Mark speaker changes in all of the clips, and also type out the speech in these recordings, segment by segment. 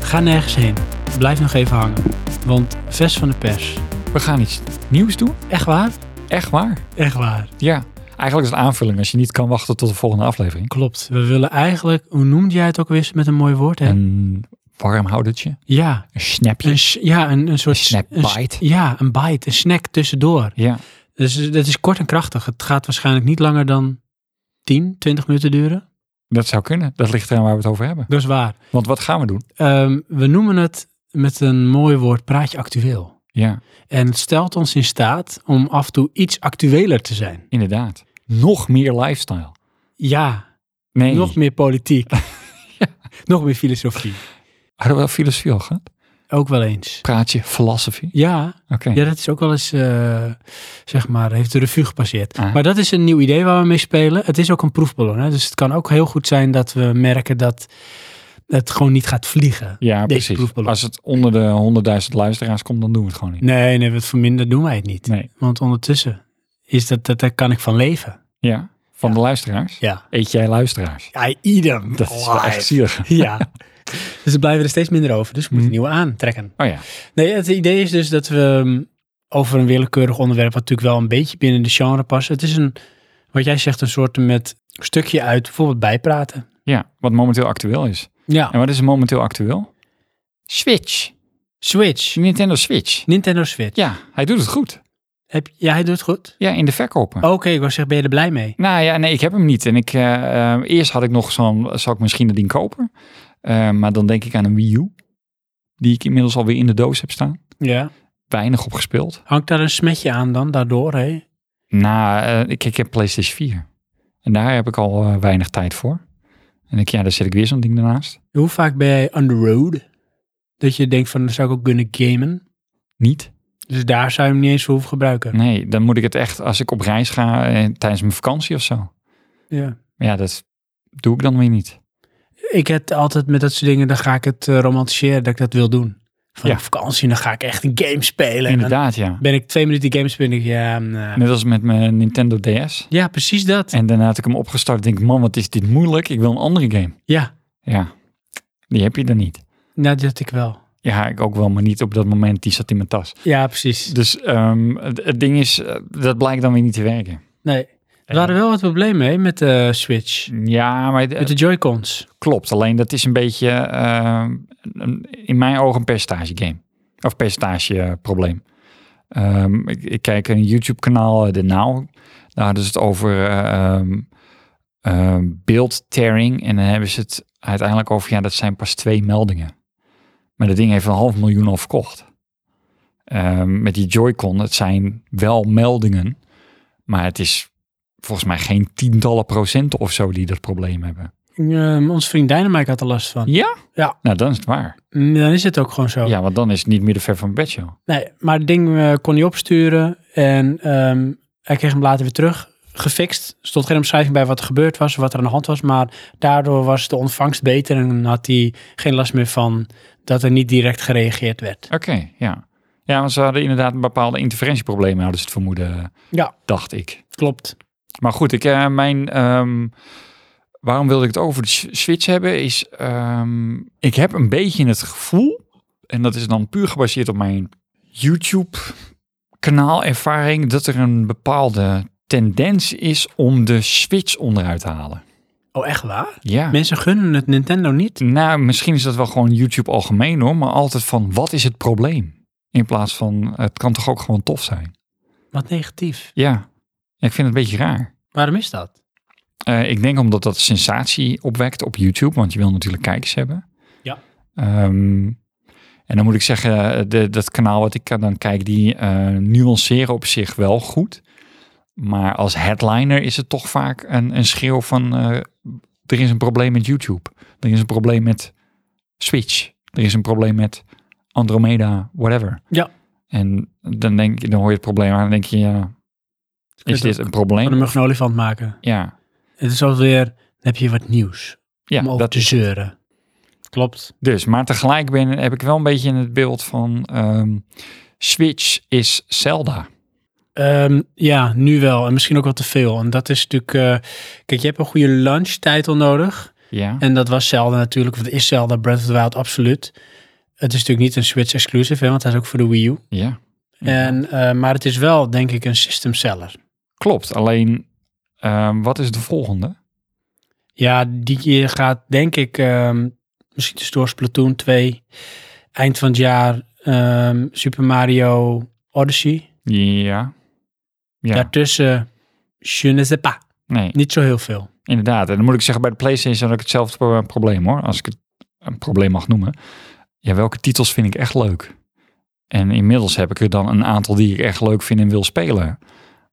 Speaker 1: Ga nergens heen. Blijf nog even hangen. Want Vest van de Pers.
Speaker 2: We gaan iets nieuws doen.
Speaker 1: Echt waar?
Speaker 2: Echt waar.
Speaker 1: Echt waar.
Speaker 2: Ja. Eigenlijk is het aanvulling als je niet kan wachten tot de volgende aflevering.
Speaker 1: Klopt. We willen eigenlijk, hoe noemde jij het ook weer met een mooi woord? Hè?
Speaker 2: Een warm houdertje.
Speaker 1: Ja.
Speaker 2: Een snapje.
Speaker 1: Een, s- ja, een, een soort...
Speaker 2: Een snack
Speaker 1: een s-
Speaker 2: bite.
Speaker 1: ja, een bite. Een snack tussendoor.
Speaker 2: Ja.
Speaker 1: Dus eh, dat is kort en krachtig. Het gaat waarschijnlijk niet langer dan 10, 20 minuten duren.
Speaker 2: Dat zou kunnen. Dat ligt eraan waar we het over hebben.
Speaker 1: Dat is waar.
Speaker 2: Want wat gaan we doen?
Speaker 1: Ehm, we noemen het met een mooi woord praatje actueel.
Speaker 2: Ja,
Speaker 1: En het stelt ons in staat om af en toe iets actueler te zijn.
Speaker 2: inderdaad. Nog meer lifestyle.
Speaker 1: Ja,
Speaker 2: Nee.
Speaker 1: nog meer politiek. Nog meer filosofie.
Speaker 2: Hadden we wel filosofie al gehad?
Speaker 1: Ook wel eens.
Speaker 2: Praat je philosophy?
Speaker 1: Ja,
Speaker 2: Oké.
Speaker 1: ja dat is ook wel eens, eh, zeg maar, heeft de revue gepasseerd.
Speaker 2: Ah.
Speaker 1: Maar dat is een nieuw idee waar we mee spelen. Het is ook een proefballon. Hè? Dus het kan ook heel goed zijn dat we merken dat het gewoon niet gaat vliegen. Deze
Speaker 2: Ja, precies.
Speaker 1: proefballon.
Speaker 2: Als het onder de 100.000 luisteraars komt, dan doen we het gewoon niet.
Speaker 1: Nee, nee, wat voor minder doen wij het niet.
Speaker 2: Nee.
Speaker 1: Want ondertussen is dat, dat, daar kan ik van leven.
Speaker 2: Ja, van
Speaker 1: Ja.
Speaker 2: de luisteraars.
Speaker 1: Ja.
Speaker 2: Eet jij luisteraars?
Speaker 1: I eat them
Speaker 2: Dat is wel
Speaker 1: alive.
Speaker 2: echt zielig.
Speaker 1: Ja. Dus er blijven er steeds minder over. Dus we moeten
Speaker 2: Hmm.
Speaker 1: nieuwe aantrekken.
Speaker 2: Oh ja,
Speaker 1: Nee, het idee is dus dat we mm, over een willekeurig onderwerp, wat natuurlijk wel een beetje binnen de genre past. Het is een, wat jij zegt, een soort met stukje uit bijvoorbeeld bijpraten.
Speaker 2: ja, wat momenteel actueel is.
Speaker 1: Ja.
Speaker 2: En wat is er momenteel actueel? Switch.
Speaker 1: Switch.
Speaker 2: Nintendo Switch.
Speaker 1: Nintendo Switch.
Speaker 2: Ja, hij doet het goed.
Speaker 1: Heb, ja, hij doet het goed.
Speaker 2: Ja, in de verkopen.
Speaker 1: Oké, ik was zeggen, ben je er blij mee?
Speaker 2: Nou ja, nee, ik heb hem niet. En ik, eh, eh, eerst had ik nog zo'n, zou ik misschien een ding kopen. Eh, maar dan denk ik aan een Wii U. Die ik inmiddels alweer in de doos heb staan.
Speaker 1: Ja.
Speaker 2: Weinig op gespeeld.
Speaker 1: Hangt daar een smetje aan dan, daardoor, hè?
Speaker 2: Nou, eh, ik, ik heb PlayStation 4. En daar heb ik al eh, weinig tijd voor. En ik, ja, daar zit ik weer zo'n ding daarnaast.
Speaker 1: Hoe vaak ben jij on the road? Dat je denkt van, dan zou ik ook kunnen gamen.
Speaker 2: Niet.
Speaker 1: Dus daar zou je hem niet eens voor hoeven gebruiken.
Speaker 2: Nee, dan moet ik het echt als ik op reis ga eh, tijdens mijn vakantie of zo.
Speaker 1: Ja.
Speaker 2: Maar ja, dat doe ik dan weer niet.
Speaker 1: Ik heb altijd met dat soort dingen, dan ga ik het eh, romantiseren dat ik dat wil doen. Van
Speaker 2: Ja.
Speaker 1: op vakantie, dan ga ik echt een game spelen. En dan
Speaker 2: Inderdaad, ja.
Speaker 1: ben ik twee minuten die game spelen, denk ik, ja, nou.
Speaker 2: Net als met mijn Nintendo DS.
Speaker 1: ja, precies dat.
Speaker 2: En daarna had ik hem opgestart. Denk, ik, man, wat is dit moeilijk? Ik wil een andere game.
Speaker 1: Ja,
Speaker 2: Ja, die heb je dan niet.
Speaker 1: nou, dat ik wel.
Speaker 2: Ja, ik ook wel, maar niet op dat moment. Die zat in mijn tas.
Speaker 1: Ja, precies.
Speaker 2: Dus ehm, het, het ding is, eh, dat blijkt dan weer niet te werken.
Speaker 1: Nee, er waren wel wat problemen hè, met de Switch.
Speaker 2: Ja, maar het-
Speaker 1: Met de Joy-Cons.
Speaker 2: Klopt, alleen dat is een beetje ehm, een- in mijn ogen een percentage game. Of percentage eh, probleem. Ehm, ik, ik kijk een YouTube kanaal, de Now. Daar hadden ze het over eh, ehm, ehm, beeld tearing. En dan hebben ze het uiteindelijk over, ja dat zijn pas twee meldingen. Maar dat ding heeft een half miljoen al verkocht. Ehm, met die Joy-Con, het zijn wel meldingen. Maar het is volgens mij geen tientallen procenten of zo die dat probleem hebben.
Speaker 1: Ehm ons vriend Dynamite had er last van.
Speaker 2: Ja?
Speaker 1: Ja.
Speaker 2: Nou, dan is het waar.
Speaker 1: Mm, Dan is het ook gewoon zo.
Speaker 2: Ja, want dan is het niet meer de ver van bed show.
Speaker 1: Nee, maar het ding eh, kon hij opsturen en ehm, hij kreeg hem later weer terug. Gefixt. Er stond geen omschrijving bij wat er gebeurd was, wat er aan de hand was. Maar daardoor was de ontvangst beter en had hij geen last meer van dat er niet direct gereageerd werd.
Speaker 2: Oké, ja. Ja, want ze hadden inderdaad een bepaalde interferentieproblemen, hadden ze het vermoeden,
Speaker 1: Ja,
Speaker 2: dacht ik.
Speaker 1: klopt.
Speaker 2: Maar goed, ik, eh, mijn, ehm, waarom wilde ik het over de s- Switch hebben, is ehm, ik heb een beetje het gevoel, en dat is dan puur gebaseerd op mijn YouTube kanaalervaring, dat er een bepaalde tendens is om de Switch onderuit te halen.
Speaker 1: Oh, echt waar?
Speaker 2: Ja.
Speaker 1: Mensen gunnen het Nintendo niet.
Speaker 2: Nou, misschien is dat wel gewoon YouTube algemeen hoor, maar altijd van wat is het probleem? In plaats van het kan toch ook gewoon tof zijn?
Speaker 1: Wat negatief.
Speaker 2: Ja, ik vind het een beetje raar.
Speaker 1: Waarom is dat?
Speaker 2: Eh, ik denk omdat dat sensatie opwekt op YouTube, want je wil natuurlijk kijkers hebben.
Speaker 1: Ja.
Speaker 2: Ehm, en dan moet ik zeggen, de, dat kanaal wat ik dan kijk, die eh, nuanceren op zich wel goed. Maar als headliner is het toch vaak een, een schreeuw van eh, er is een probleem met YouTube. Er is een probleem met Switch. Er is een probleem met Andromeda, whatever.
Speaker 1: Ja.
Speaker 2: En dan, denk, je- dan hoor je het probleem aan en dan denk je, ja,
Speaker 1: kunt
Speaker 2: is dit een probleem?
Speaker 1: Van een mug een olifant maken.
Speaker 2: Ja.
Speaker 1: Het is alweer, dan heb je wat nieuws
Speaker 2: Ja,
Speaker 1: om over
Speaker 2: dat
Speaker 1: te zeuren. Klopt.
Speaker 2: Dus, maar tegelijk ben, heb ik wel een beetje in het beeld van ehm, Switch is Zelda.
Speaker 1: Ehm, ja, nu wel. En misschien ook wat te veel. En dat is natuurlijk... eh, kijk, je hebt een goede lunchtitel nodig.
Speaker 2: Ja.
Speaker 1: En dat was Zelda natuurlijk. Of dat is Zelda Breath of the Wild, absoluut. Het is natuurlijk niet een Switch exclusive, hè, want hij is ook voor de Wii U.
Speaker 2: Ja.
Speaker 1: En, eh, maar het is wel, denk ik, een system seller.
Speaker 2: Klopt, alleen ehm, wat is de volgende?
Speaker 1: Ja, die keer gaat, denk ik, ehm, misschien dus door Splatoon 2, eind van het jaar, ehm, Super Mario Odyssey.
Speaker 2: Ja. Ja,
Speaker 1: Daartussen, je ne sais pas,
Speaker 2: nee,
Speaker 1: niet zo heel veel.
Speaker 2: inderdaad. En dan moet ik zeggen, bij de PlayStation had ik hetzelfde pro- probleem hoor, als ik het een probleem mag noemen. Ja, welke titels vind ik echt leuk? En inmiddels heb ik er dan een aantal die ik echt leuk vind en wil spelen.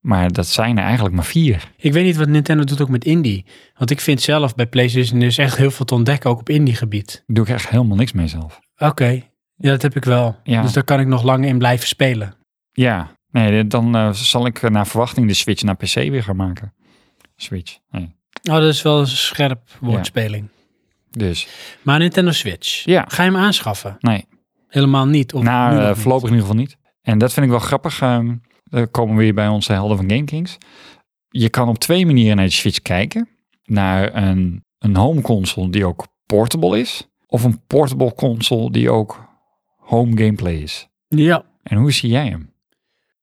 Speaker 2: Maar dat zijn er eigenlijk maar vier.
Speaker 1: Ik weet niet wat Nintendo doet ook met indie. Want ik vind zelf bij PlayStation is echt heel veel te ontdekken, ook op indie gebied.
Speaker 2: Daar doe ik echt helemaal niks mee zelf.
Speaker 1: Oké, ja, dat heb ik wel.
Speaker 2: Ja.
Speaker 1: Dus daar kan ik nog lang in blijven spelen.
Speaker 2: Ja, nee, dan eh, zal ik eh, naar verwachting de switch naar PC weer gaan maken. Switch, nee.
Speaker 1: Oh, dat is wel een scherp woordspeling.
Speaker 2: Dus,
Speaker 1: Maar Nintendo Switch,
Speaker 2: Ja.
Speaker 1: ga je hem aanschaffen?
Speaker 2: nee,
Speaker 1: Helemaal niet. Of
Speaker 2: nou,
Speaker 1: nu nog
Speaker 2: eh,
Speaker 1: niet?
Speaker 2: voorlopig in ieder geval niet. En dat vind ik wel grappig. ehm, dan komen we weer bij onze helden van GameKings. Je kan op twee manieren naar de Switch kijken. Naar een, een home console die ook portable is. Of een portable console die ook home gameplay is.
Speaker 1: Ja,
Speaker 2: En hoe zie jij hem?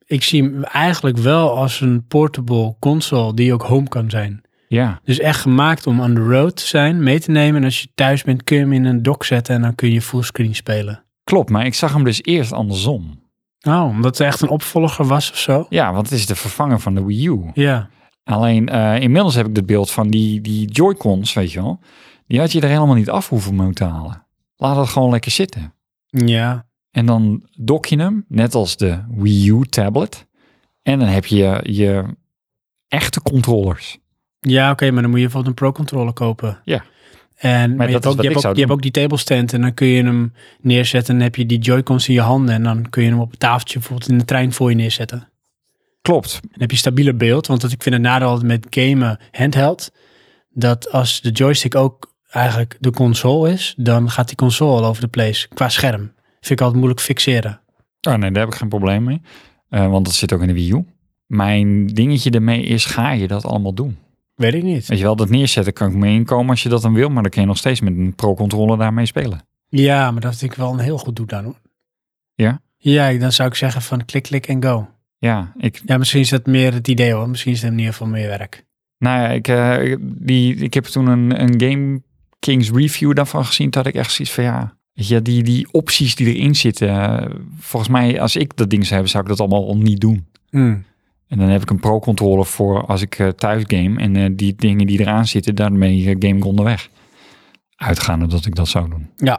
Speaker 1: ik zie hem eigenlijk wel als een portable console die ook home kan zijn.
Speaker 2: Ja,
Speaker 1: Dus echt gemaakt om on the road te zijn, mee te nemen. En als je thuis bent, kun je hem in een dock zetten en dan kun je fullscreen spelen.
Speaker 2: klopt. Maar ik zag hem dus eerst andersom.
Speaker 1: Oh, omdat het echt een opvolger was of zo?
Speaker 2: Ja, want het is de vervanger van de Wii U.
Speaker 1: Ja.
Speaker 2: Alleen eh, inmiddels heb ik het beeld van die, die Joy-Cons, weet je wel. Die had je er helemaal niet af hoeven moeten halen. Laat dat gewoon lekker zitten.
Speaker 1: Ja.
Speaker 2: En dan dok je hem, net als de Wii U-tablet. En dan heb je je echte controllers.
Speaker 1: Ja, oké, maar dan moet je bijvoorbeeld een pro-controller kopen.
Speaker 2: Ja.
Speaker 1: En maar
Speaker 2: dat
Speaker 1: je, hebt
Speaker 2: is
Speaker 1: ook,
Speaker 2: wat
Speaker 1: je,
Speaker 2: ik
Speaker 1: hebt
Speaker 2: zou
Speaker 1: ook, je hebt
Speaker 2: doen.
Speaker 1: ook die table stand en dan kun je hem neerzetten. En dan heb je die Joy-Cons in je handen en dan kun je hem op een tafeltje bijvoorbeeld in de trein voor je neerzetten.
Speaker 2: Klopt.
Speaker 1: Dan heb je stabieler beeld. Want dat, ik vind het nadeel altijd met gamen handheld. Dat als de joystick ook eigenlijk de console is. Dan gaat die console al over de place. Qua scherm. Vind ik altijd moeilijk fixeren.
Speaker 2: Oh nee, daar heb ik geen probleem mee. Eh, want dat zit ook in de Wii U. Mijn dingetje ermee is, ga je dat allemaal doen?
Speaker 1: Weet ik niet.
Speaker 2: Weet je wel, dat neerzetten kan ik mee inkomen als je dat dan wil. Maar dan kun je nog steeds met een pro-controller daarmee spelen.
Speaker 1: Ja, maar dat vind ik wel een heel goed doel dan hoor.
Speaker 2: Ja?
Speaker 1: Ja, ik- dan zou ik zeggen van klik, klik en go.
Speaker 2: Ja, ik,
Speaker 1: Ja, misschien is dat meer het idee hoor. Misschien is het in ieder geval meer werk.
Speaker 2: Nou ja, ik, eh, ik- die, ik heb toen een, een Game Kings review daarvan gezien. Toen had ik echt zoiets van ja, weet je, die, die opties die erin zitten. eh, volgens mij, als ik dat ding zou hebben, zou ik dat allemaal al niet doen. En dan heb ik een pro-controller voor als ik eh, thuis game. En eh, die dingen die eraan zitten, daarmee eh, game ik onderweg. Uitgaande dat ik dat zou doen.
Speaker 1: Ja.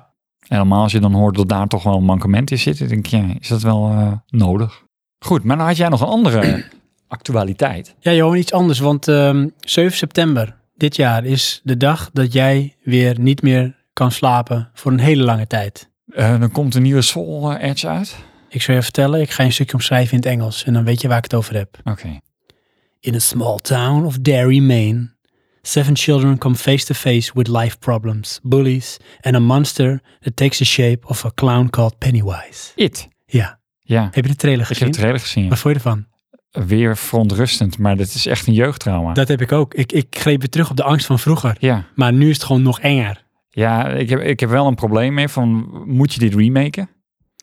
Speaker 2: En helemaal als je dan hoort dat daar toch wel een mankement in zit, dan denk je, ja, is dat wel eh, nodig? Goed, maar dan had jij nog een andere actualiteit.
Speaker 1: Ja, Johan, iets anders. Want ehm 7 september dit jaar is de dag dat jij weer niet meer kan slapen voor een hele lange tijd.
Speaker 2: Eh, dan komt een nieuwe Soul eh, Edge uit.
Speaker 1: Ik zal je vertellen, ik ga een stukje omschrijven in het Engels en dan weet je waar ik het over heb.
Speaker 2: Oké.
Speaker 1: In a small town of Derry, Maine, seven children come face to face with life problems, bullies and a monster that takes the shape of a clown called Pennywise.
Speaker 2: It.
Speaker 1: Ja,
Speaker 2: Ja,
Speaker 1: heb je de trailer
Speaker 2: ik
Speaker 1: gezien?
Speaker 2: heb de trailer gezien. ja.
Speaker 1: Wat vond je ervan?
Speaker 2: Weer verontrustend, maar dit is echt een jeugdtrauma.
Speaker 1: Dat heb ik ook. Ik, ik greep weer terug op de angst van vroeger.
Speaker 2: Ja,
Speaker 1: Maar nu is het gewoon nog enger.
Speaker 2: ja ik, heb, ik heb wel een probleem mee van, moet je dit remaken?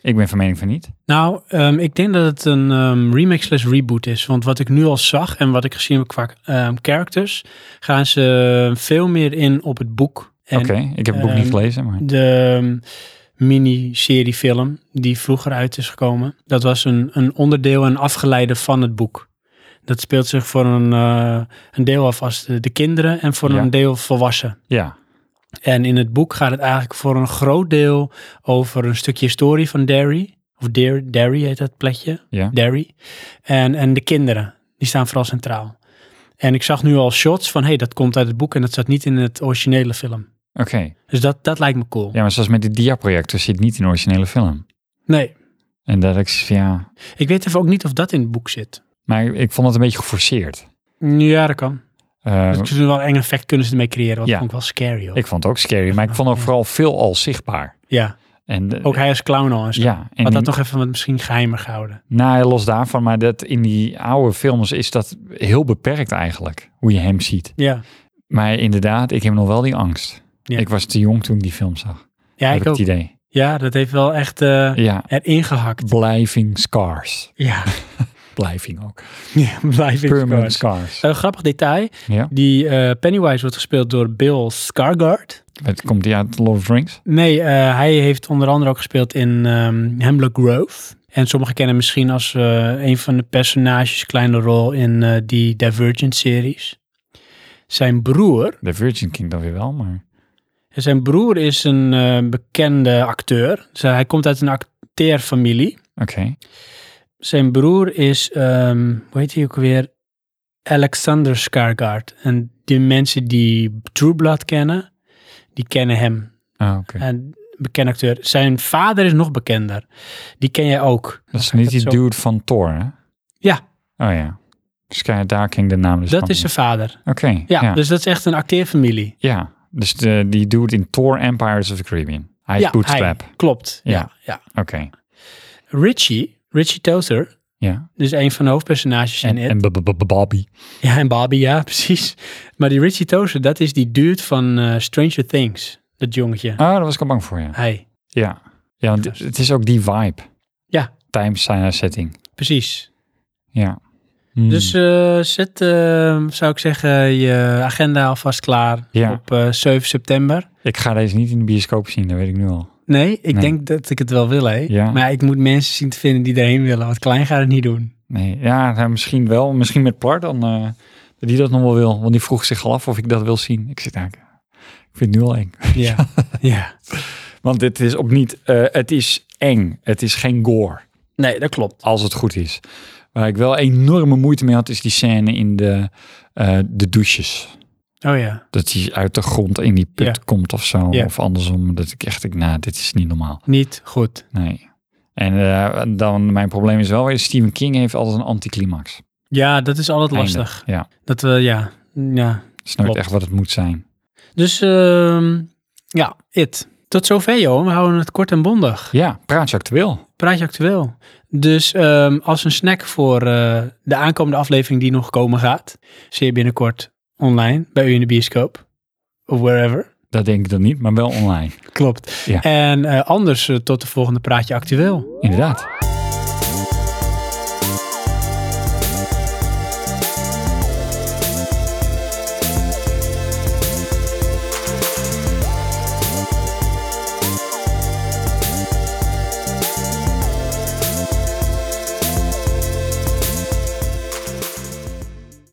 Speaker 2: Ik ben van mening van niet.
Speaker 1: Nou, ehm, ik denk dat het een ehm remake slash reboot is. Want wat ik nu al zag en wat ik gezien heb qua ehm, characters, gaan ze veel meer in op het boek. En
Speaker 2: Oké, ik heb het boek
Speaker 1: ehm,
Speaker 2: niet gelezen, maar
Speaker 1: de um, miniseriefilm die vroeger uit is gekomen. Dat was een, een onderdeel en afgeleide van het boek. Dat speelt zich voor een, eh, een deel af als de, de kinderen en voor
Speaker 2: Ja.
Speaker 1: een deel volwassen.
Speaker 2: ja.
Speaker 1: En in het boek gaat het eigenlijk voor een groot deel over een stukje historie van Derry. Of Derry, Derry heet dat plekje.
Speaker 2: Ja.
Speaker 1: Derry. En, en de kinderen, die staan vooral centraal. En ik zag nu al shots van, hé, hey, dat komt uit het boek en dat zat niet in het originele film.
Speaker 2: Oké,
Speaker 1: Dus dat, dat lijkt me cool.
Speaker 2: ja, maar zoals met dit dia-projector zit niet in de originele film.
Speaker 1: Nee,
Speaker 2: En dat ik, zoiets van, ja,
Speaker 1: Ik weet even ook niet of dat in het boek zit.
Speaker 2: maar ik vond het een beetje geforceerd.
Speaker 1: Ja, dat kan.
Speaker 2: Eh,
Speaker 1: Dat is wel een eng effect kunnen ze ermee creëren. Wat
Speaker 2: Ja.
Speaker 1: vond ik wel scary hoor.
Speaker 2: ik vond het ook scary, maar ik vond ook vooral veel al zichtbaar.
Speaker 1: ja,
Speaker 2: En, eh,
Speaker 1: ook hij als clown al en zo.
Speaker 2: ja, en
Speaker 1: Had
Speaker 2: in-
Speaker 1: dat nog even wat misschien geheimer gehouden.
Speaker 2: Nou, los daarvan, maar dat in die oude films is dat heel beperkt eigenlijk, hoe je hem ziet.
Speaker 1: Ja,
Speaker 2: Maar inderdaad, ik heb nog wel die angst.
Speaker 1: Ja.
Speaker 2: Ik was te jong toen ik die film zag,
Speaker 1: ja
Speaker 2: heb
Speaker 1: ik
Speaker 2: ik het
Speaker 1: ook.
Speaker 2: idee.
Speaker 1: Ja, dat heeft wel echt eh
Speaker 2: Ja,
Speaker 1: erin gehakt.
Speaker 2: blijving scars.
Speaker 1: Ja,
Speaker 2: Blijving ook.
Speaker 1: ja blijf ik
Speaker 2: Permanent
Speaker 1: scars.
Speaker 2: scars.
Speaker 1: Een grappig detail.
Speaker 2: Ja.
Speaker 1: Die eh, Pennywise wordt gespeeld door Bill Skarsgård.
Speaker 2: Het komt die uit Lord of the Rings.
Speaker 1: Nee, eh, hij heeft onder andere ook gespeeld in ehm Hemlock Grove. En sommigen kennen hem misschien als eh, een van de personages kleine rol in eh, die Divergent-series. Zijn broer,
Speaker 2: The Virgin King dan weer wel, maar...
Speaker 1: zijn broer is een eh, bekende acteur. Dus hij komt uit een acteerfamilie.
Speaker 2: Oké.
Speaker 1: Zijn broer is, ehm, hoe heet hij ook weer? Alexander Skarsgård. En de mensen die True Blood kennen, die kennen hem.
Speaker 2: Ah, oké.
Speaker 1: En bekende acteur. Zijn vader is nog bekender. Die ken jij ook.
Speaker 2: Dat is niet
Speaker 1: dat
Speaker 2: die
Speaker 1: zo-
Speaker 2: dude van Thor, hè?
Speaker 1: Ja.
Speaker 2: Oh ja. Sky, daar ging de naam dus
Speaker 1: dat
Speaker 2: van
Speaker 1: is
Speaker 2: in.
Speaker 1: zijn vader.
Speaker 2: Oké,
Speaker 1: Ja,
Speaker 2: ja.
Speaker 1: dus dat is echt een acteerfamilie.
Speaker 2: Ja, dus de, die doet in Thor Empires of the Caribbean. Hij is
Speaker 1: ja,
Speaker 2: Bootstrap.
Speaker 1: hij. Klopt. Ja.
Speaker 2: Ja.
Speaker 1: ja.
Speaker 2: Oké,
Speaker 1: Richie, Richie Tozer,
Speaker 2: ja.
Speaker 1: dus een van de hoofdpersonages
Speaker 2: En,
Speaker 1: in It.
Speaker 2: en B- B- B- Bobby.
Speaker 1: Ja, en Bobby, ja, precies. Maar die Richie Tozer, dat is die dude van eh, Stranger Things. Dat jongetje.
Speaker 2: Ah, daar was ik al bang voor, ja.
Speaker 1: Hij.
Speaker 2: Ja, ja want
Speaker 1: Juist.
Speaker 2: het is ook die vibe.
Speaker 1: Ja.
Speaker 2: Time eh, setting.
Speaker 1: Precies.
Speaker 2: Ja. Hmm.
Speaker 1: Dus eh, zet, eh, zou ik zeggen, je agenda alvast klaar
Speaker 2: Ja.
Speaker 1: op eh, 7 september.
Speaker 2: Ik ga deze niet in de bioscoop zien, dat weet ik nu al.
Speaker 1: Nee, ik
Speaker 2: Nee.
Speaker 1: denk dat ik het wel wil, hè.
Speaker 2: Ja.
Speaker 1: Maar ik moet mensen zien te vinden die erheen willen. Want klein gaat het niet doen.
Speaker 2: Nee, ja, nou, misschien wel. Misschien met Plart dan, eh, dat die dat nog wel wil. Want die vroeg zich al af of ik dat wil zien. Ik zit eigenlijk, ik vind het nu al eng.
Speaker 1: Ja. ja.
Speaker 2: Want het is ook niet, eh, het is eng. Het is geen gore,
Speaker 1: Nee, dat klopt.
Speaker 2: als het goed is. Waar ik wel enorme moeite mee had, is die scène in de, eh, de douches.
Speaker 1: Oh ja.
Speaker 2: Dat die uit de grond in die put
Speaker 1: Ja.
Speaker 2: komt of zo.
Speaker 1: Ja.
Speaker 2: Of andersom. Dat ik echt denk, nou, dit is niet normaal.
Speaker 1: Niet goed.
Speaker 2: Nee. En eh, dan mijn probleem is wel weer, Stephen King heeft altijd een anticlimax.
Speaker 1: Ja, dat is altijd
Speaker 2: Einde.
Speaker 1: lastig.
Speaker 2: Ja,
Speaker 1: Dat we, ja. ja.
Speaker 2: het is nooit
Speaker 1: Klopt.
Speaker 2: echt wat het moet zijn.
Speaker 1: Dus, ehm, ja, it. Tot zover, joh. We houden het kort en bondig.
Speaker 2: Ja, praat je actueel.
Speaker 1: Praatje actueel. Dus ehm, als een snack voor eh, de aankomende aflevering die nog komen gaat, zie je binnenkort online bij u in de bioscoop. Of wherever.
Speaker 2: Dat denk ik dan niet, maar wel online.
Speaker 1: Klopt.
Speaker 2: Ja.
Speaker 1: En eh, anders eh, tot de volgende Praatje Actueel.
Speaker 2: Inderdaad.